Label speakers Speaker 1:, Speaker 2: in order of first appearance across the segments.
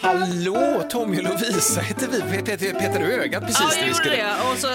Speaker 1: Hallå, Tommy och Lovisa heter vi. Pet- pet- Petar du ögat precis när vi skulle...
Speaker 2: Och så,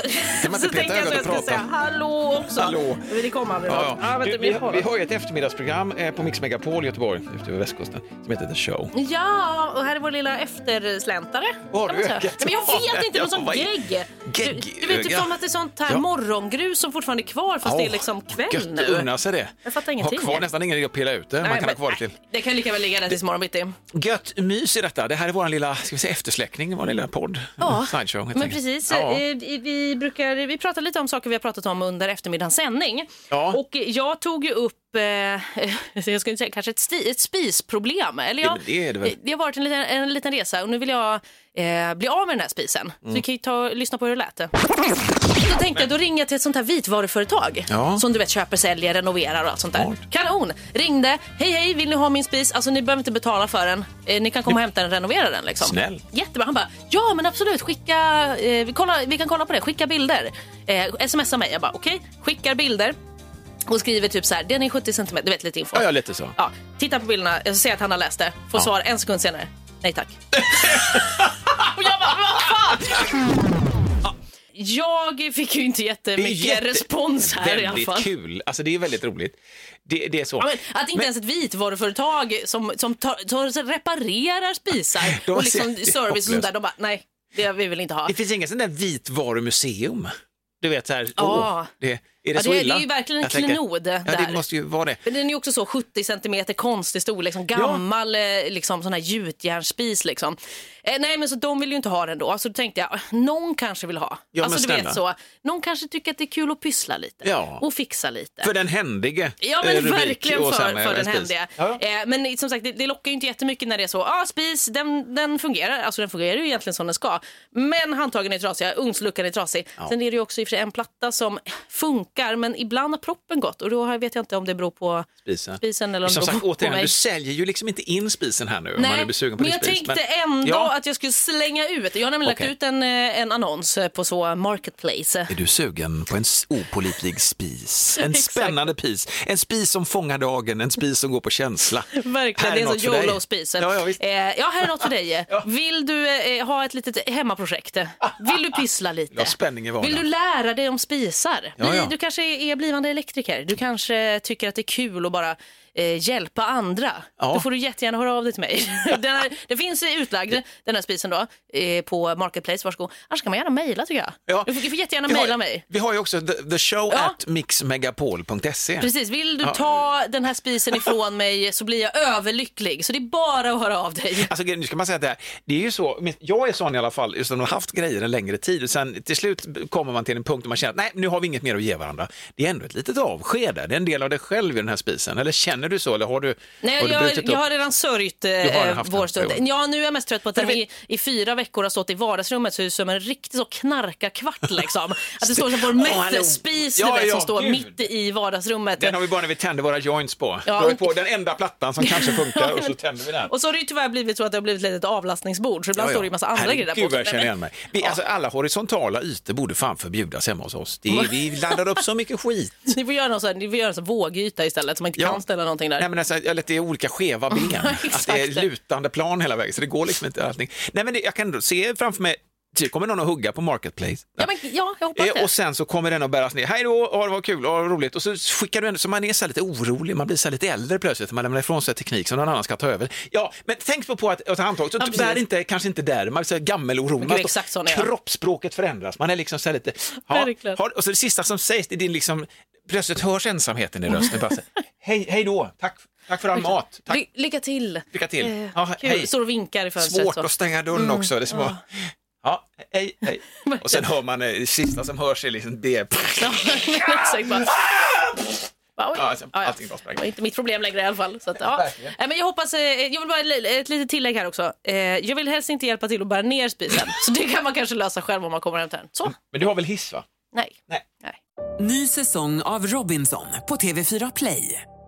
Speaker 1: Kan man inte
Speaker 2: så
Speaker 1: peta
Speaker 2: tänkte jag
Speaker 1: ögat
Speaker 2: att jag
Speaker 1: och
Speaker 2: skulle
Speaker 1: prata?
Speaker 2: säga hallå också.
Speaker 1: Hallå.
Speaker 2: Men det kommer aldrig något.
Speaker 1: Ja, ja.
Speaker 2: vänta,
Speaker 1: Du,
Speaker 2: vi
Speaker 1: vi,
Speaker 2: har-
Speaker 1: vi har ju ett eftermiddagsprogram eh, på Mix Megapol i Göteborg ute vid västkusten som heter The Show.
Speaker 2: Ja, och här är vår lilla eftersläntare.
Speaker 1: Vad har
Speaker 2: kan
Speaker 1: du
Speaker 2: man säga.
Speaker 1: ögat?
Speaker 2: Men jag vet inte,
Speaker 1: Ja,
Speaker 2: någon sån
Speaker 1: vad är-
Speaker 2: gegg. Du,
Speaker 1: Gegg
Speaker 2: du vet typ
Speaker 1: öga.
Speaker 2: som att det är sånt här
Speaker 1: Ja.
Speaker 2: morgongrus som fortfarande är kvar fast det är liksom kväll
Speaker 1: gött att
Speaker 2: nu.
Speaker 1: unna sig det.
Speaker 2: Jag fattar ingenting.
Speaker 1: Har kvar nästan ingen idé att pilla ut det. Man
Speaker 2: Nej,
Speaker 1: kan
Speaker 2: men-
Speaker 1: ha kvar det till.
Speaker 2: nej, Det kan lika väl ligga där tills imorgon bitti.
Speaker 1: Gött mys i detta. Det här är vår lilla ska vi säga, eftersläckning, vår lilla podd.
Speaker 2: Ja,
Speaker 1: Sideshow, helt
Speaker 2: men
Speaker 1: enkelt.
Speaker 2: precis.
Speaker 1: Ja.
Speaker 2: Eh, Vi, vi, brukar, vi pratar lite om saker vi har pratat om under eftermiddagens sändning.
Speaker 1: Ja.
Speaker 2: Och jag tog ju upp, eh, jag skulle inte säga kanske ett, sti, ett spisproblem. Eller
Speaker 1: Ja,
Speaker 2: jag,
Speaker 1: men det är det väl.
Speaker 2: det har varit en liten, en liten resa och nu vill jag eh, bli av med den här spisen.
Speaker 1: Mm.
Speaker 2: Så vi kan ju ta, lyssna på hur det lät. Då tänkte jag, då ringer jag till ett sånt här vitvaruföretag
Speaker 1: Ja.
Speaker 2: som du vet köper, säljer, renoverar och allt sånt där.
Speaker 1: Smart.
Speaker 2: Kanon! Ringde, hej hej, vill ni ha min spis? Alltså ni behöver inte betala för den. Eh, ni kan komma och hämta den och renovera den liksom.
Speaker 1: Snällt.
Speaker 2: Jättebra. Han bara, ja men absolut, skicka, eh, vi, kolla, vi kan kolla på det, skicka bilder. Eh, smsa mig, jag bara okej, skickar bilder. Och skriver typ så här, den är 70 cm, du vet lite info.
Speaker 1: Ja, ja, lite så.
Speaker 2: Ja, titta på bilderna, jag ser att han har läst det, får
Speaker 1: Ja.
Speaker 2: svar en sekund senare. Nej tack. och jag bara, vad fan! Jag fick ju inte
Speaker 1: Det är
Speaker 2: jättemycket
Speaker 1: jätte-
Speaker 2: respons här i alla
Speaker 1: Väldigt
Speaker 2: fall.
Speaker 1: kul. Alltså, det är väldigt roligt. Det, det är så.
Speaker 2: Ja, men, att inte ens ett vitvaruföretag som, som tar, tar, reparerar spisar
Speaker 1: De
Speaker 2: och liksom
Speaker 1: ser- det är
Speaker 2: service och sånt
Speaker 1: hopplöst.
Speaker 2: där, de bara nej, det vill vi vill inte ha.
Speaker 1: Det finns inget sånt där vitvarumuseum. Du vet så här,
Speaker 2: Ja.
Speaker 1: åh, det, är det
Speaker 2: Ja,
Speaker 1: så
Speaker 2: det är-
Speaker 1: illa?
Speaker 2: det är ju verkligen en
Speaker 1: Jag tänker,
Speaker 2: klenod
Speaker 1: Ja,
Speaker 2: där.
Speaker 1: det måste ju vara det.
Speaker 2: Men den är ju också så 70 centimeter konstig storlek, liksom gammal eh, liksom, sån här gjutjärnsspis. Liksom. Eh, nej, men så de vill ju inte ha den då. Så då tänkte jag, någon kanske vill ha.
Speaker 1: Ja, men
Speaker 2: alltså, du vet
Speaker 1: snälla.
Speaker 2: så. Någon kanske tycker att det är kul att pyssla lite
Speaker 1: Ja.
Speaker 2: och fixa lite.
Speaker 1: För den händige.
Speaker 2: Ja
Speaker 1: eh,
Speaker 2: men
Speaker 1: rubrik
Speaker 2: verkligen
Speaker 1: och
Speaker 2: för,
Speaker 1: sen, eh,
Speaker 2: för den
Speaker 1: spis.
Speaker 2: händiga.
Speaker 1: Ja, ja.
Speaker 2: Eh, men som sagt det, det lockar ju inte jättemycket när det är så, ah, spis den, den fungerar, alltså den fungerar ju egentligen som den ska. Men handtagen är trasiga, ugnsluckan är trasig. Sen är det ju också i och för sig en platta som funkar men ibland har proppen gått och då har- vet jag inte om det beror på
Speaker 1: Spisen.
Speaker 2: spisen eller om
Speaker 1: Som
Speaker 2: det beror
Speaker 1: sagt,
Speaker 2: på
Speaker 1: återigen,
Speaker 2: mig.
Speaker 1: du säljer ju liksom inte in spisen här nu om man
Speaker 2: Nej,
Speaker 1: är besöken på
Speaker 2: men jag
Speaker 1: din spis.
Speaker 2: tänkte ändå
Speaker 1: Ja.
Speaker 2: att jag skulle slänga ut, jag har nämligen
Speaker 1: Okej.
Speaker 2: lagt ut en, eh, en annons eh, på så Marketplace.
Speaker 1: Är du sugen på en s- opolitlig spis? En
Speaker 2: Exakt.
Speaker 1: spännande pis. En spis som fångar dagen, en spis som går på känsla. Här
Speaker 2: Verkligen, det är en
Speaker 1: något
Speaker 2: sån
Speaker 1: för dig.
Speaker 2: YOLO-spis.
Speaker 1: Ja, ja, visst.
Speaker 2: eh, ja, här är något för dig. Vill du eh, ha ett litet hemmaprojekt? Vill du pyssla lite?
Speaker 1: ha spänning i vardagen.
Speaker 2: Vill du lära dig om spisar?
Speaker 1: Ja,
Speaker 2: Bli-
Speaker 1: ja.
Speaker 2: Du kanske är blivande elektriker. Du kanske tycker att det är kul att bara eh, hjälpa andra.
Speaker 1: Ja.
Speaker 2: Då får du jättegärna höra av dig till mig. den, här, den finns utlagd, den här spisen då, eh, på Marketplace. Varsågod. Annars kan man gärna mejla tycker jag.
Speaker 1: Ja.
Speaker 2: Du, får, du får jättegärna
Speaker 1: Vi har-
Speaker 2: mejla mig.
Speaker 1: Vi har ju också the, the show
Speaker 2: Ja.
Speaker 1: at mixmegapol.se.
Speaker 2: Precis, vill du
Speaker 1: Ja.
Speaker 2: ta den här spisen ifrån mig så blir jag överlycklig. Så det är bara att höra av dig.
Speaker 1: Alltså, grejen- nu ska man säga att det, här, det är ju så, men jag är sån i alla fall, just att man har haft grejer en längre tid och sen till slut kommer man till en punkt där man känner att nej, nu har vi inget mer att ge varandra. Det är ändå ett litet avskede, det är en del av dig själv i den här spisen. Eller känner du så, eller har du,
Speaker 2: Nej,
Speaker 1: har du
Speaker 2: jag,
Speaker 1: brutit
Speaker 2: jag
Speaker 1: upp?
Speaker 2: har redan sörjt
Speaker 1: har
Speaker 2: eh,
Speaker 1: haft
Speaker 2: vår
Speaker 1: den,
Speaker 2: stund.
Speaker 1: jo.
Speaker 2: Ja, nu är jag mest trött på att den
Speaker 1: vi-
Speaker 2: i, i fyra veckor har stått i vardagsrummet så det är som en riktig så knarkarkvart liksom. Att det står som vår mätterspis
Speaker 1: Ja,
Speaker 2: du vet,
Speaker 1: ja,
Speaker 2: som står
Speaker 1: gud.
Speaker 2: mitt i vardagsrummet.
Speaker 1: Den har vi bara när vi tänder våra joints på.
Speaker 2: Ja.
Speaker 1: Då är vi på den enda plattan som kanske funkar och så tänder vi den.
Speaker 2: Och så har det ju tyvärr blivit så att det har blivit ett litet avlastningsbord så ibland
Speaker 1: Ja, ja.
Speaker 2: står det ju massa andra
Speaker 1: Herregud,
Speaker 2: grejer där
Speaker 1: vad jag känner
Speaker 2: Nej,
Speaker 1: igen
Speaker 2: men-
Speaker 1: mig. Vi, alltså, alla horisontala ytor borde fan förbjudas hemma hos oss. Det är, vi laddar upp så mycket skit.
Speaker 2: Ni får göra någon sån här, ni får göra en sån vågyta istället så man inte
Speaker 1: Ja.
Speaker 2: kan ställa någonting där.
Speaker 1: Nej, men alltså, eller att det är olika skeva ben. att det
Speaker 2: exakt.
Speaker 1: är lutande plan hela vägen, så det går liksom inte allting. Nej, men det, jag kan ändå se framför mig, det kommer någon att hugga på Marketplace.
Speaker 2: ja, men, ja, jag hoppas
Speaker 1: Eh,
Speaker 2: det.
Speaker 1: Och sen så kommer den att bäras ner. Hej då, ja, det var kul, ja, det var roligt. Och så skickar du en, så man är så här lite orolig, man blir så här lite äldre plötsligt, man lämnar ifrån sig teknik som någon annan ska ta över. Ja, men tänk på, på att, att handtag, så
Speaker 2: Ja, precis.
Speaker 1: bär inte, kanske inte där, man blir så här gammelorolig.
Speaker 2: Gud,
Speaker 1: Man står-
Speaker 2: exakt sån är jag.
Speaker 1: Kroppsspråket förändras, man är liksom så här lite... Ja,
Speaker 2: Verkligen.
Speaker 1: har, och så det sista som sägs, det är din liksom, plötsligt hörs ensamheten i rösten. Bara så, här, hej, hej då, tack, tack för all mat. Tack.
Speaker 2: Ly- lycka till.
Speaker 1: Lycka till.
Speaker 2: Eh,
Speaker 1: Ja,
Speaker 2: kul.
Speaker 1: hej.
Speaker 2: Står och vinkar i fönstret.
Speaker 1: Svårt
Speaker 2: så.
Speaker 1: att stänga dörren också. Det är som att, ja, hej, hej. Och sen hör man, eh, det sista som hörs är liksom det.
Speaker 2: Ja, men exakt, bara. "Ah!" Ja, oj.
Speaker 1: Ja, alltså,
Speaker 2: Ja, ja.
Speaker 1: allting var sprängt.
Speaker 2: Det var inte mitt problem längre i alla fall. Så att, ja.
Speaker 1: Verkligen.
Speaker 2: Nej, men jag hoppas, eh, jag vill bara li- ett litet tillägg här också. Eh, Jag vill helst inte hjälpa till att bära ner spisen. Så det kan man kanske lösa själv om man kommer hem till den. Så,
Speaker 1: Men du har väl hiss va?
Speaker 2: nej.
Speaker 1: Mm. Nej.
Speaker 2: nej.
Speaker 3: Ny säsong av Robinson på TV4 Play.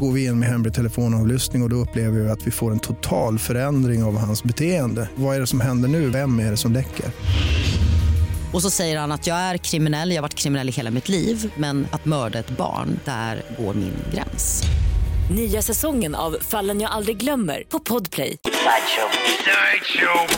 Speaker 4: går vi in med hemlig telefonavlyssning och, och då upplever vi att vi får en total förändring av hans beteende. Vad är det som händer nu? Vem är det som läcker?
Speaker 5: Och så säger han att jag är kriminell, jag har varit kriminell i hela mitt liv men att mörda ett barn, där går min gräns.
Speaker 6: Nya säsongen av Fallen jag aldrig glömmer på Podplay.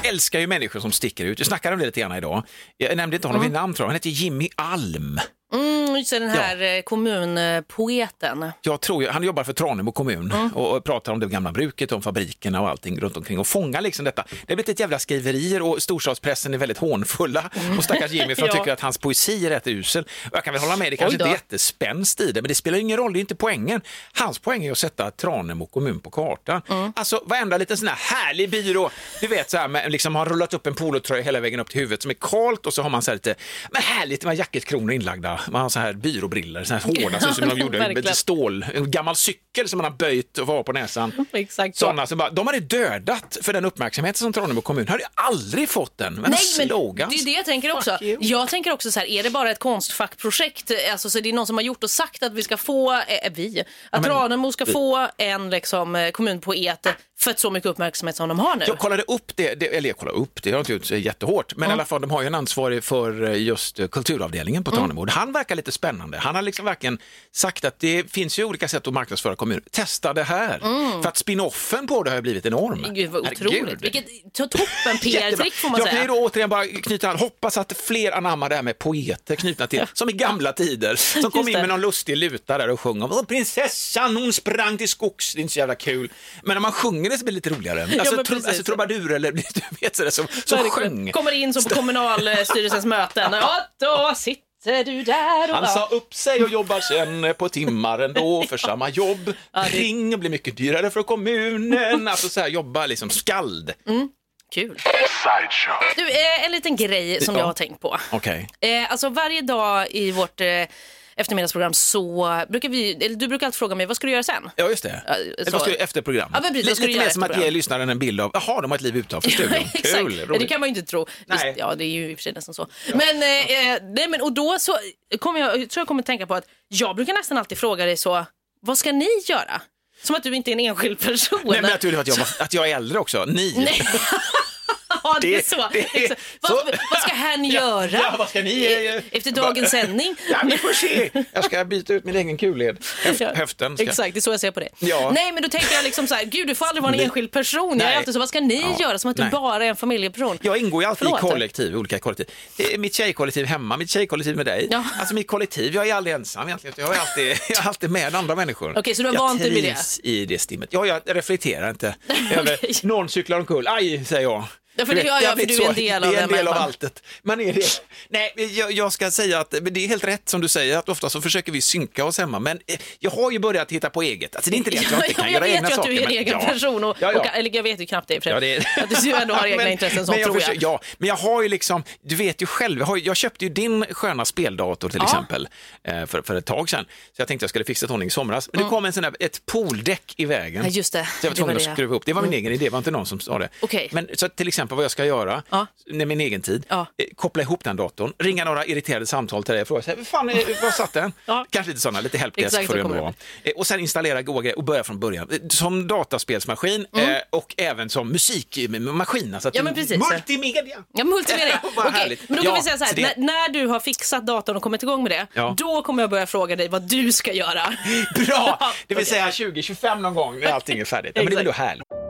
Speaker 1: Älskar ju människor som sticker ut. Vi snackade om det lite grann idag. Jag nämnde inte honom vid namn tror jag. Han heter Jimmy Alm.
Speaker 2: Mm, just det, den här eh, kommunpoeten.
Speaker 1: Jag tror, ju- han jobbar för Tranemo kommun
Speaker 2: Mm.
Speaker 1: och, och pratar om det gamla bruket, om fabrikerna och allting runt omkring och fångar liksom detta. Det har blivit ett jävla skriverier och storstadspressen är väldigt hånfulla och stackars Jimmy för de
Speaker 2: Mm. Ja.
Speaker 1: tycker att hans poesi är rätt usel. Och jag kan väl hålla med, det kanske
Speaker 2: Oj då.
Speaker 1: inte är jättespänst i det, men det spelar ju ingen roll, det är inte poängen. Hans poäng är att sätta Tranemo kommun på kartan.
Speaker 2: Mm.
Speaker 1: Alltså varenda liten sån här härlig byrå, du vet så här med, liksom har rullat upp en polotröja hela vägen upp till huvudet som är kalt och så har man så här lite, men härligt, man har jackettkronor inlagda, man har så här byråbriller, så här hårda, så som de gjorde med lite
Speaker 2: Verkligen.
Speaker 1: stål, en gammal cykel som man har böjt och var på
Speaker 2: Oh
Speaker 1: näsan.
Speaker 2: Exakt så.
Speaker 1: Sådana som bara, de hade dödat för den uppmärksamhet som Tranemo kommun hade ju aldrig fått den. Men slogans.
Speaker 2: det är det jag tänker också.
Speaker 1: you.
Speaker 2: Jag tänker också så här, är det bara ett konstfackprojekt? Alltså, så det är någon som har gjort och sagt att vi ska få, eh, vi, att
Speaker 1: men-
Speaker 2: Tranemo ska få en liksom, eh, kommunpoet för att så mycket uppmärksamhet som de har nu.
Speaker 1: Jag kollade upp det, det eller jag kollade upp det, jag har inte gjort så jättehårt, men i alla fall de har ju en ansvarig för eh, just eh, kulturavdelningen på Tranemo. Han verkar lite spännande. Han har liksom verkligen sagt att det finns ju olika sätt att marknadsföra kommuner. Testa det här, för att spinoffen på det har ju blivit enorm.
Speaker 2: Mm. Gud vad
Speaker 1: Herregud.
Speaker 2: otroligt. Vilket to- toppen
Speaker 1: Jättebra.
Speaker 2: PR-trick får man
Speaker 1: jag
Speaker 2: säga.
Speaker 1: kan ju då återigen bara knyta an, hoppas att fler anammar det här med poeter knutna till, som i gamla tider, som kom
Speaker 2: Just
Speaker 1: in med
Speaker 2: det.
Speaker 1: någon lustig luta där och sjöng om "Åh, prinsessan, hon sprang till skogs, det är inte så jävla kul. Men när man sjunger det så blir det lite roligare. Alltså,
Speaker 2: men
Speaker 1: tro,
Speaker 2: precis.
Speaker 1: alltså trubadur eller du vet sådär som, som
Speaker 2: Verkligen.
Speaker 1: sjöng.
Speaker 2: Kommer in som på kommunalstyrelsens möten. Ja, då sitter du där och...
Speaker 1: Han sa upp sig och jobbar sen på timmar ändå för samma jobb.
Speaker 2: det-
Speaker 1: Ring blir mycket dyrare för kommunen. Alltså så här jobba liksom skald.
Speaker 2: Mm. Kul. Du, eh, en liten grej som
Speaker 1: Ja.
Speaker 2: jag har tänkt på.
Speaker 1: Okej.
Speaker 2: Eh, alltså varje dag i vårt eh, eftermiddagsprogram så brukar vi, eller du brukar alltid fråga mig vad ska du göra sen?
Speaker 1: Ja, just det.
Speaker 2: Ja,
Speaker 1: Eller
Speaker 2: så-
Speaker 1: vad ska du- efter programmet.
Speaker 2: Ja, men precis, vad
Speaker 1: lite
Speaker 2: ska du
Speaker 1: lite
Speaker 2: göra
Speaker 1: mer som
Speaker 2: efter
Speaker 1: att ge
Speaker 2: programmet?
Speaker 1: lyssnaren en bild av, jaha, de har ett liv utanför studion.
Speaker 2: Exakt.
Speaker 1: Kul,
Speaker 2: Ja, det
Speaker 1: roligt.
Speaker 2: kan man ju inte tro. Visst,
Speaker 1: Nej.
Speaker 2: ja, det är ju i och för sig nästan så. Men, eh, eh, nej, men och då så kommer jag, jag tror jag kommer tänka på att jag brukar nästan alltid fråga dig så, vad ska ni göra? Som att du inte är en enskild person.
Speaker 1: Nej, men naturligt att jag, var, att jag är äldre också. Ni.
Speaker 2: Nej. Ja, det, är
Speaker 1: Det-
Speaker 2: så.
Speaker 1: det-
Speaker 2: Exakt. Vad,
Speaker 1: så-
Speaker 2: vad ska herrn göra?
Speaker 1: ja, vad ska ni, eh,
Speaker 2: E- Efter dagens sändning?
Speaker 1: Ja, vi får se. Jag ska byta ut min egen kulled. Höft,
Speaker 2: Ja,
Speaker 1: Höften. Ska.
Speaker 2: Exakt, det är så jag ser på det.
Speaker 1: Ja.
Speaker 2: Nej, men då tänker jag liksom så här, gud du får aldrig vara en
Speaker 1: Ni-
Speaker 2: enskild person. Jag
Speaker 1: Nej.
Speaker 2: är alltid så, vad ska ni
Speaker 1: Ja.
Speaker 2: göra? Som att du
Speaker 1: Nej.
Speaker 2: bara är en familjeperson.
Speaker 1: Jag ingår ju alltid
Speaker 2: Förlåt.
Speaker 1: i kollektiv, olika kollektiv. Det är mitt tjejkollektiv hemma, mitt tjejkollektiv med dig.
Speaker 2: Ja.
Speaker 1: Alltså mitt kollektiv, jag är aldrig ensam egentligen. utan Jag är alltid, jag är alltid med andra människor.
Speaker 2: Okej, så du har
Speaker 1: jag
Speaker 2: vant dig vid det?
Speaker 1: trivs i det stimmet. Ja, jag reflekterar inte. över,
Speaker 2: Okej.
Speaker 1: Någon cyklar omkull, aj, säger jag.
Speaker 2: Ja, för
Speaker 1: Du
Speaker 2: det- ja, ja,
Speaker 1: jag
Speaker 2: för
Speaker 1: vet
Speaker 2: du är en del av
Speaker 1: det. är
Speaker 2: den
Speaker 1: en del av
Speaker 2: människan.
Speaker 1: alltet. Man är det. Nej, men jag, jag ska säga att men det är helt rätt som du säger, att ofta så försöker vi synka oss hemma, men eh, jag har ju börjat hitta på eget. Alltså det är inte det att jag inte kan
Speaker 2: jag
Speaker 1: göra egna
Speaker 2: vet ju att
Speaker 1: saker.
Speaker 2: du är en
Speaker 1: men-
Speaker 2: egen
Speaker 1: ja.
Speaker 2: person. Och,
Speaker 1: Ja, ja.
Speaker 2: Och, eller jag vet ju knappt det, i och för
Speaker 1: Ja,
Speaker 2: sig.
Speaker 1: det-
Speaker 2: Att du ändå har egna
Speaker 1: Men-
Speaker 2: intressen, så
Speaker 1: men
Speaker 2: tror jag.
Speaker 1: försöker- Ja, men jag har ju liksom, du vet ju själv, jag, har, ju- jag köpte ju din sköna speldator till exempel eh, för, för ett tag sedan. Så jag tänkte jag skulle fixa ordning i somras. Men det kom en sån där, ett pooldäck i vägen.
Speaker 2: Mm. Ja, just det.
Speaker 1: Så jag var
Speaker 2: Det var
Speaker 1: tvungen
Speaker 2: det, ja.
Speaker 1: att skruva upp. Det var min egen idé, det var inte någon som sa det.
Speaker 2: Okej.
Speaker 1: Men så att till exempel vad jag ska göra,
Speaker 2: Ja.
Speaker 1: med min egen tid,
Speaker 2: Ja.
Speaker 1: eh, koppla ihop den datorn, ringa några irriterade samtal till dig och fråga, så här, "Vad fan, eh, var satt den?
Speaker 2: Ja.
Speaker 1: Kanske lite sådana, lite
Speaker 2: Exakt,
Speaker 1: helpdesk får
Speaker 2: så
Speaker 1: det ändå
Speaker 2: kommer det
Speaker 1: vara. Eh, Och sen installera goa grejer och börja från början. Eh, Som dataspelsmaskin eh, och även som musikmaskin. Alltså att
Speaker 2: Mm. Ja,
Speaker 1: du-
Speaker 2: men precis.
Speaker 1: Multimedia!
Speaker 2: Ja, multimedia.
Speaker 1: Vad
Speaker 2: Okej,
Speaker 1: härligt.
Speaker 2: men då kan
Speaker 1: Ja,
Speaker 2: vi säga så här,
Speaker 1: så det-
Speaker 2: när, när du har fixat datorn och kommit igång med det,
Speaker 1: Ja.
Speaker 2: då kommer jag börja fråga dig vad du ska göra.
Speaker 1: Bra! Det vill
Speaker 2: Okej.
Speaker 1: säga 2025 någon gång när allting är färdigt. Ja, men det är väl härligt.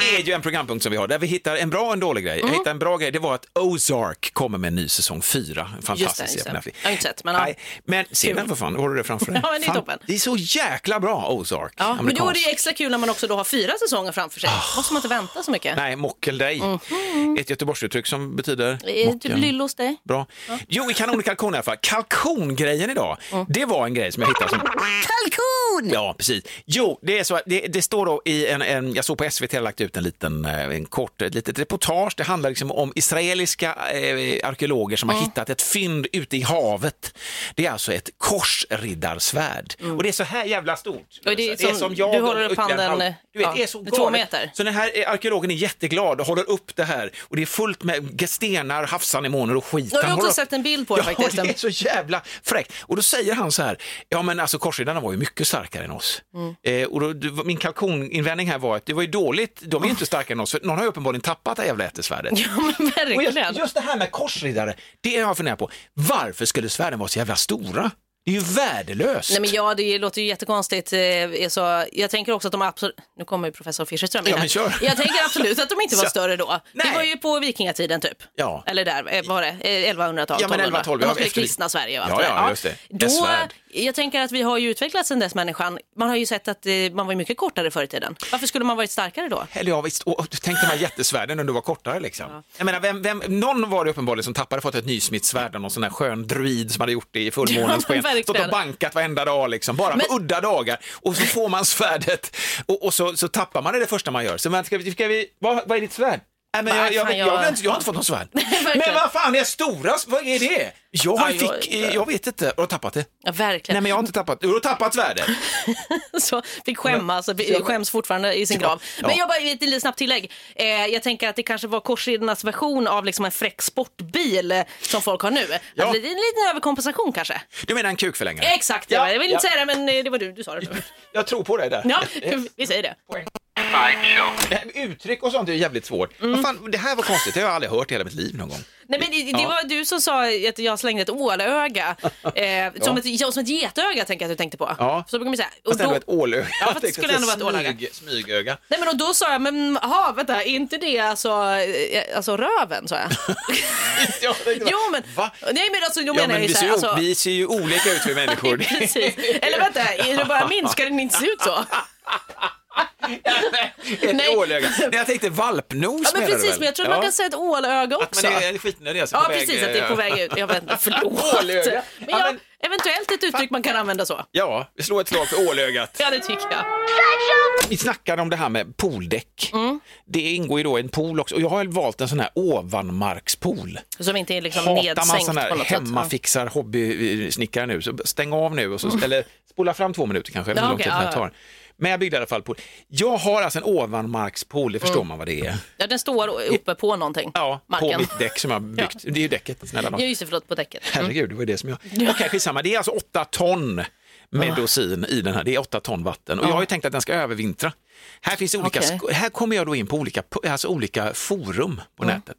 Speaker 1: Det är ju en programpunkt som vi har där vi hittar en bra och en dålig grej.
Speaker 2: Mm.
Speaker 1: Jag hittade en bra grej, det var att Ozark kommer med en ny säsong 4.
Speaker 2: Just det,
Speaker 1: Fantastisk
Speaker 2: just
Speaker 1: serie
Speaker 2: det.
Speaker 1: på Netflix.
Speaker 2: Jag har inte sett, men ja.
Speaker 1: Nej, men se den för fan, har du det framför dig?
Speaker 2: Ja, men det är
Speaker 1: fan,
Speaker 2: toppen.
Speaker 1: Det är så jäkla bra Ozark.
Speaker 2: Ja, men då är det
Speaker 1: Amerikansk.
Speaker 2: ju extra kul när man också då har fyra säsonger framför sig. måste man inte vänta så mycket.
Speaker 1: Ah. Nej, mockel dig. Ett Göteborgsuttryck som betyder
Speaker 2: Är Mhm. det Typ
Speaker 1: mockeln.
Speaker 2: lill hos dig.
Speaker 1: Bra. Jo, vi kan olika kalkon i alla fall. Kalkongrejen idag, det var en grej som jag hittade. Som... Kalkon! Ja, precis. Jo, det är så att det, det står då i en, en, jag såg på SVT har lagt ut en liten, eh, en kort, ett litet reportage. Det handlar liksom om israeliska eh, arkeologer som har hittat ett fynd ute i havet. Det är alltså ett korsriddarsvärd. Och det är så här jävla stort.
Speaker 2: Och Mm. det är som-
Speaker 1: jag
Speaker 2: du håller
Speaker 1: och
Speaker 2: upp handen,
Speaker 1: Örjan Hall-
Speaker 2: eh,
Speaker 1: Du vet,
Speaker 2: ja,
Speaker 1: det är så
Speaker 2: det är två
Speaker 1: galet.
Speaker 2: meter.
Speaker 1: Så den här eh, arkeologen är jätteglad och håller upp det här och det är fullt med stenar, havsanemoner och skit.
Speaker 2: Jag har
Speaker 1: Han
Speaker 2: också
Speaker 1: håller upp-
Speaker 2: sett en bild på det
Speaker 1: ja,
Speaker 2: faktiskt.
Speaker 1: det är så jävla fräckt. Och då säger han så här, ja men alltså korsriddarna var ju mycket starkare än oss.
Speaker 2: Mm.
Speaker 1: Eh, och då, du- min kalkoninvändning här var att det var ju dåligt, de är ju inte starkare än oss, för någon har ju uppenbarligen tappat det här jävla ätesvärdet.
Speaker 2: Ja, men
Speaker 1: Och
Speaker 2: verkligen.
Speaker 1: just, just det här med korsriddare, det har jag funderat på. Varför skulle svärden vara så jävla stora? Det är ju värdelöst.
Speaker 2: Nej men ja, det låter ju jättekonstigt. eh, är Så jag tänker också att de absolut, nu kommer ju professor Fischerström in
Speaker 1: Ja, men
Speaker 2: här.
Speaker 1: kör.
Speaker 2: Jag tänker absolut att de inte var
Speaker 1: Så-
Speaker 2: större då.
Speaker 1: Nej.
Speaker 2: Det var ju på vikingatiden typ.
Speaker 1: Ja.
Speaker 2: Eller där, eh, var det? Eh, 1100-tal?
Speaker 1: Ja, men
Speaker 2: 1200.
Speaker 1: 1112,
Speaker 2: När
Speaker 1: ja,
Speaker 2: De skulle
Speaker 1: efter-
Speaker 2: kristna Sverige och allt
Speaker 1: Ja,
Speaker 2: det
Speaker 1: ja,
Speaker 2: där.
Speaker 1: just det. Ett
Speaker 2: Då,
Speaker 1: svärd.
Speaker 2: jag tänker att vi har ju utvecklats sedan dess människan. Man har ju sett att eh, man var ju mycket kortare förr i tiden. Varför skulle man varit starkare då?
Speaker 1: Eller ja, visst. Och, och, tänk de här jättesvärden om du var kortare liksom. Jag menar, vem, vem, någon var det uppenbarligen som tappade fått ett nysmittsvärd av någon sån här skön druid som hade gjort det i fullmånens
Speaker 2: Ja, men
Speaker 1: sken. Stått och
Speaker 2: verkligen.
Speaker 1: bankat varenda dag liksom, bara på udda dagar. Och så får man svärdet och, och så, så tappar man det det första man gör. Så man, ska, vi- ska vi, vad, vad är ditt svärd? Nej, men jag,
Speaker 2: Nej,
Speaker 1: jag,
Speaker 2: fan,
Speaker 1: vet- jag,
Speaker 2: jag-
Speaker 1: vet inte- jag har inte fått något svärd.
Speaker 2: verkligen.
Speaker 1: men vad fan är stora, vad är det? Jag,
Speaker 2: Ja, jag-
Speaker 1: fick, jag, jag vet inte, och har tappat det.
Speaker 2: Ja, verkligen.
Speaker 1: Nej men jag har inte tappat, du har tappat svärdet.
Speaker 2: så fick skämmas, och skäms fortfarande i sin grav.
Speaker 1: ja.
Speaker 2: Men jag bara, ett litet snabbt tillägg. Eh, jag tänker att det kanske var korsriddarnas version av liksom en fräck sportbil eh, som folk har nu.
Speaker 1: Ja.
Speaker 2: Att det är en liten överkompensation kanske.
Speaker 1: Du menar en kukförlängare?
Speaker 2: Exakt, det var- jag vill inte säga det men eh, det var du, du sa det.
Speaker 1: Jag tror på dig där.
Speaker 2: Ja, vi säger det.
Speaker 1: Det här med Eh, Uttryck och sånt är ju jävligt svårt.
Speaker 2: Mm.
Speaker 1: Vad Fan, det här var konstigt, det har jag aldrig hört i hela mitt liv någon gång.
Speaker 2: Nej, men det, det
Speaker 1: Ja.
Speaker 2: var du som sa att jag slängde ett ålöga. Eh, som, ett, ja, som ett getöga tänker jag att du tänkte på.
Speaker 1: Ja.
Speaker 2: Så brukar man säga. Och
Speaker 1: Fast ändå
Speaker 2: då,
Speaker 1: ett ålöga.
Speaker 2: Ja, fast det skulle ändå vara ett ålöga.
Speaker 1: Smyg- Smygöga.
Speaker 2: nej, men och då sa jag, men jaha, vänta, är inte det alltså, eh, alltså röven? Sa jag.
Speaker 1: Jag tänkte bara,
Speaker 2: Jo men,
Speaker 1: Va?
Speaker 2: nej, men alltså, då
Speaker 1: Ja,
Speaker 2: menar
Speaker 1: men
Speaker 2: jag ju
Speaker 1: vi,
Speaker 2: så
Speaker 1: ser ju,
Speaker 2: här, alltså,
Speaker 1: vi ser ju olika ut vi människor. Det-
Speaker 2: Precis. Eller vänta, är det bara min? Ska den inte se ut så?
Speaker 1: ett
Speaker 2: Nej.
Speaker 1: ålöga. Nej, jag tänkte valpnos
Speaker 2: Ja, men
Speaker 1: menar du
Speaker 2: precis,
Speaker 1: väl?
Speaker 2: men jag tror att man kan säga ett ålöga
Speaker 1: Att
Speaker 2: också.
Speaker 1: man är skitnödig alltså.
Speaker 2: Ja,
Speaker 1: på väg,
Speaker 2: precis, att det är på
Speaker 1: eh,
Speaker 2: väg ut. Jag vet inte, förlåt.
Speaker 1: Ålöga.
Speaker 2: Men
Speaker 1: Ja,
Speaker 2: jag,
Speaker 1: men-
Speaker 2: eventuellt ett uttryck man kan använda så.
Speaker 1: Ja, vi slår ett slag för ålögat.
Speaker 2: Ja, det tycker jag.
Speaker 1: Vi snackade om det här med pooldäck.
Speaker 2: Mm.
Speaker 1: Det ingår ju då i en pool också och jag har valt en sån här ovanmarkspool.
Speaker 2: Som inte är liksom
Speaker 1: Hatar man
Speaker 2: nedsänkt
Speaker 1: sån
Speaker 2: på
Speaker 1: här
Speaker 2: något sätt.
Speaker 1: hemmafixar hobbysnickare nu, så stäng av nu och så, eller spola fram två minuter kanske, jag vet inte
Speaker 2: Mm. Ja,
Speaker 1: hur lång tid
Speaker 2: okej,
Speaker 1: det här
Speaker 2: ja,
Speaker 1: tar. Men jag byggde i alla fall pool. Jag har alltså en ovanmarkspool, det förstår man vad det är.
Speaker 2: Ja, den står uppe på någonting.
Speaker 1: Ja, på
Speaker 2: Mm. marken.
Speaker 1: mitt däck som jag har byggt. Det är ju däcket, snälla nån.
Speaker 2: Ja, just det, förlåt, på däcket.
Speaker 1: Herregud, det var ju det som jag... Okej, skitsamma. Det är alltså åtta ton medosin i den här. Det är åtta ton vatten. Och jag har ju tänkt att den ska övervintra. Här, finns det olika,
Speaker 2: Okej.
Speaker 1: sk- här kommer jag då in på olika, po- alltså olika forum på
Speaker 2: Mm.
Speaker 1: nätet.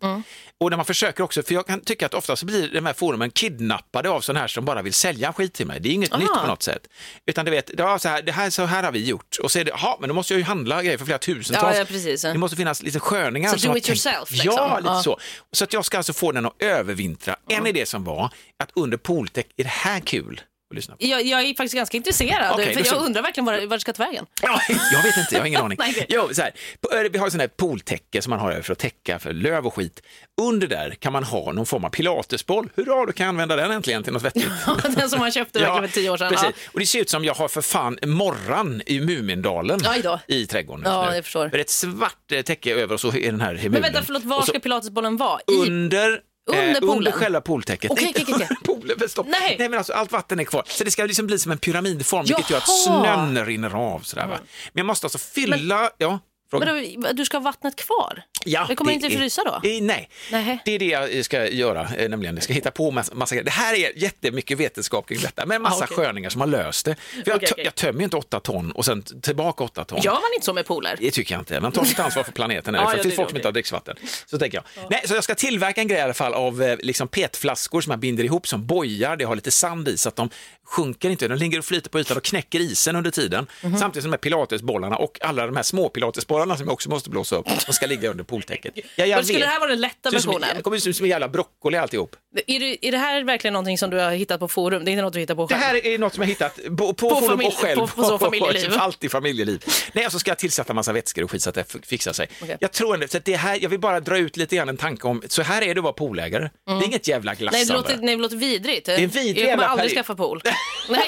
Speaker 1: Och när man försöker också, för jag kan tycka att ofta så blir de här forumen kidnappade av sådana här som bara vill sälja skit till mig. Det är inget nytt på något sätt. Utan du vet, ja, så, här, det här, så här har vi gjort. Och så är det, ja, men då måste jag ju handla grejer för flera tusentals.
Speaker 2: Ja, ja, precis.
Speaker 1: Det måste finnas lite sköningar.
Speaker 2: Så
Speaker 1: som
Speaker 2: do
Speaker 1: har
Speaker 2: it
Speaker 1: tänkt-
Speaker 2: yourself, liksom.
Speaker 1: Ja, lite
Speaker 2: Ja.
Speaker 1: så. Så att jag ska alltså få den att övervintra. En idé som var att under pooltäck, är det här kul? och lyssna på.
Speaker 2: Jag, jag är faktiskt ganska intresserad,
Speaker 1: Okej,
Speaker 2: för
Speaker 1: då
Speaker 2: jag
Speaker 1: så.
Speaker 2: undrar verkligen var, var det ska ta vägen.
Speaker 1: Ja, jag vet inte, jag har ingen aning.
Speaker 2: Nej.
Speaker 1: Jo, så här, på- vi har sån här pooltäcke som man har över för att täcka för löv och skit. Under där kan man ha någon form av pilatesboll. Hurra, du kan använda den äntligen till något vettigt.
Speaker 2: Den som man köpte verkligen för tio år sedan.
Speaker 1: Precis. Och det ser ut som jag har för fan morran i Mumindalen
Speaker 2: Aj då.
Speaker 1: i trädgården just
Speaker 2: Ja,
Speaker 1: nu.
Speaker 2: jag förstår.
Speaker 1: För ett svart eh, täcke över och så är den här hemulen.
Speaker 2: Men vänta, förlåt, var
Speaker 1: Mm. Och så
Speaker 2: ska pilatesbollen vara? I...
Speaker 1: under, eh,
Speaker 2: Under poolen?
Speaker 1: under själva pooltäcket.
Speaker 2: Okej,
Speaker 1: Inte
Speaker 2: okej, okej, okej.
Speaker 1: poolen, för stopp.
Speaker 2: Nej.
Speaker 1: Nej. men alltså, allt vatten är kvar. Så det ska liksom bli som en pyramidform, vilket gör att
Speaker 2: Jaha.
Speaker 1: snön rinner av. Sådär, va? Men jag måste alltså fylla... ja, fråga.
Speaker 2: Vadå, du ska ha vattnet kvar?
Speaker 1: Ja,
Speaker 2: det kommer inte
Speaker 1: är-
Speaker 2: frysa då?
Speaker 1: Eh, nej.
Speaker 2: Nej.
Speaker 1: det är det jag eh, ska göra, eh, nämligen. Jag ska hitta på massa, massa grejer. Det här är jättemycket vetenskap kring detta, men massa
Speaker 2: Ah, okej.
Speaker 1: sköningar som har löst det. För jag,
Speaker 2: Okej,
Speaker 1: tö-
Speaker 2: okej.
Speaker 1: jag tömmer ju inte åtta ton och sen t- tillbaka åtta ton.
Speaker 2: Gör man inte så med poler?
Speaker 1: Det tycker jag inte. Man tar sitt ansvar för planeten. Här,
Speaker 2: Ja,
Speaker 1: för
Speaker 2: ja,
Speaker 1: det
Speaker 2: det
Speaker 1: finns
Speaker 2: gör
Speaker 1: folk som
Speaker 2: vi.
Speaker 1: inte har dricksvatten. Så tänker jag. Nej, så jag ska tillverka en grej i alla fall av eh, liksom petflaskor som man binder ihop som bojar. Det har lite sand i så att de sjunker inte. De ligger och flyter på ytan och knäcker isen under tiden.
Speaker 2: Mhm.
Speaker 1: Samtidigt som de här pilatesbollarna och alla de här små pilatesbollarna som jag också måste blåsa upp. De ska ligga under pooltäcket. Ja, jag
Speaker 2: Då skulle
Speaker 1: vet.
Speaker 2: det här vara den lätta
Speaker 1: Ser ut som-
Speaker 2: versionen?
Speaker 1: Det kommer se ut som en jävla broccoli alltihop.
Speaker 2: Är det, är det här verkligen någonting som du har hittat på forum? Det är inte något du hittar på
Speaker 1: Det
Speaker 2: själv?
Speaker 1: här är något som jag hittat på, på, forum
Speaker 2: familj-
Speaker 1: och själv.
Speaker 2: på- på så familjeliv.
Speaker 1: Allt i familjeliv. Nej, så ska jag tillsätta massa vätskor och skit så att det f- fixar sig.
Speaker 2: Okej.
Speaker 1: Jag tror ändå, så att det här, jag vill bara dra ut lite grann en tanke om, så här är det att vara poolägare. Det är inget jävla
Speaker 2: Mm. Nej, det
Speaker 1: glassande.
Speaker 2: låter, nej, det låter vidrigt.
Speaker 1: är en vidrig
Speaker 2: Jag kommer
Speaker 1: jävla
Speaker 2: aldrig
Speaker 1: period.
Speaker 2: skaffa pool. nej.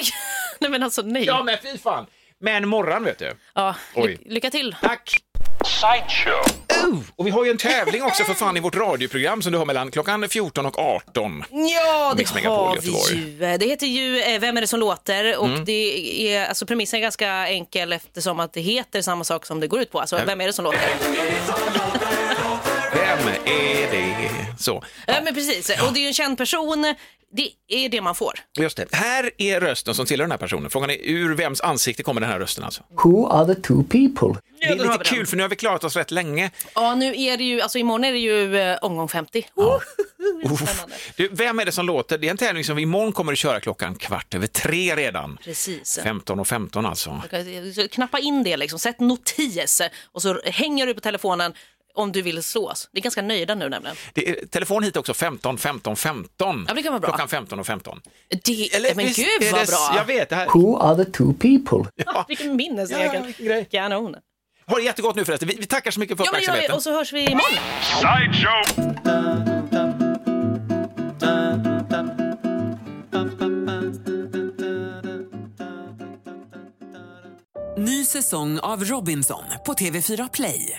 Speaker 2: nej, men alltså nej.
Speaker 1: Ja, men fy fan. Men morgon vet du.
Speaker 2: Ja,
Speaker 1: Oj.
Speaker 2: ly- lycka till.
Speaker 1: Tack! Oh, och vi har ju en tävling också för fan i vårt radioprogram som du har mellan klockan 14 och 18.
Speaker 2: Ja,
Speaker 1: Mix
Speaker 2: det
Speaker 1: Megapol
Speaker 2: har
Speaker 1: Göteborg.
Speaker 2: vi ju. Det heter ju eh, Vem är det som låter? Och det är, alltså, premissen är ganska enkel eftersom att det heter samma sak som det går ut på. Alltså, vem är det som låter?
Speaker 1: Vem är det? Så.
Speaker 2: Ja, men precis. Och det är ju en känd person. Det är det man får.
Speaker 1: Just det. Här är rösten som tillhör den här personen. Frågan är ur vems ansikte kommer den här rösten alltså?
Speaker 7: Who are the two people?
Speaker 1: Det är
Speaker 2: då har
Speaker 1: lite
Speaker 2: vi den.
Speaker 1: kul för nu har vi klarat oss rätt länge.
Speaker 2: Ja, nu är det ju, alltså imorgon är det ju eh, omgång 50. Oh, spännande.
Speaker 1: Du, vem är det som låter? Det är en tävling som vi imorgon kommer att köra klockan kvart över tre redan.
Speaker 2: Precis.
Speaker 1: 15 och 15 alltså.
Speaker 2: Så Knappa in det, liksom. sätt notis och så hänger du på telefonen om du vill slås. Vi är ganska nöjda nu nämligen.
Speaker 1: Det är, telefon hit också 15 15 15.
Speaker 2: Ja, det kan vara bra.
Speaker 1: Klockan 15 och 15.
Speaker 2: Det, men
Speaker 1: visst
Speaker 2: gud
Speaker 1: är
Speaker 2: vad
Speaker 1: det-
Speaker 2: bra!
Speaker 1: Jag vet, det här.
Speaker 7: Who are the two people?
Speaker 2: Vilken
Speaker 1: Ja,
Speaker 2: minnesregel!
Speaker 1: vilken grej.
Speaker 2: Kanon!
Speaker 1: Har det jättegott nu förresten. Vi, vi tackar så mycket för
Speaker 2: Ja, men det gör vi.
Speaker 1: uppmärksamheten.
Speaker 2: Och så hörs vi imorgon.
Speaker 3: Ny säsong av Robinson på TV4 Play.